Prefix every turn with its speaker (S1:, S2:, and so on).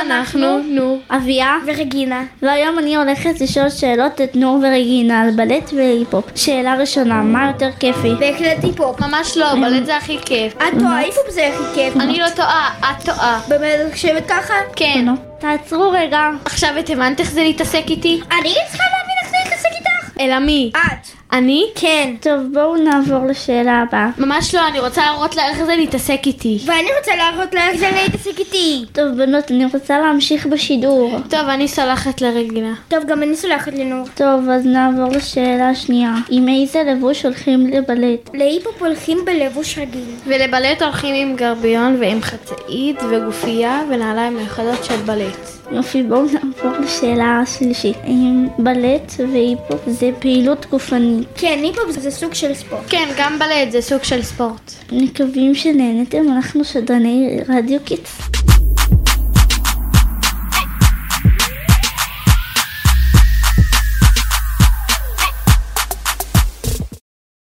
S1: אנחנו, נו,
S2: אביה,
S3: ורגינה.
S2: והיום אני הולכת לשאול שאלות את נור ורגינה על בלט והיפ-הופ. שאלה ראשונה, מה יותר כיפי?
S3: בהחלט היפ-הופ.
S1: ממש לא, בלט זה הכי כיף.
S3: את טועה, היפ-הופ זה הכי כיף.
S2: אוקיי.
S1: אני לא טועה, את טועה.
S3: באמת את חושבת ככה?
S1: כן.
S2: תעצרו רגע.
S1: עכשיו את הבנת איך זה להתעסק איתי?
S3: אני צריכה להבין איך זה להתעסק איתך?
S1: אלא מי?
S3: את.
S1: אני?
S3: כן.
S2: טוב, בואו נעבור לשאלה הבאה.
S1: ממש לא, אני רוצה להראות לה איך זה להתעסק איתי.
S3: ואני רוצה להראות לה איך זה להתעסק איתי.
S2: טוב, בנות, אני רוצה להמשיך בשידור.
S1: טוב, אני סולחת לרגינה.
S3: טוב, גם אני סולחת לנור.
S2: טוב, אז נעבור לשאלה השנייה. עם איזה לבוש הולכים לבלט?
S3: להיפ-הופ הולכים בלבוש רגיל.
S1: ולבלט הולכים עם גרביון ועם חצאית וגופייה ונעליים מיוחדות של בלט.
S2: יופי, בואו נעבור לשאלה השלישית. האם בלט והיפ-הופ זה פעילות גופנית?
S3: כן, היפ-הופ זה סוג של ספורט.
S1: כן, גם בלט זה סוג של ספורט.
S2: מקווים שנהנתם, אנחנו שדרני רדיו קיטס.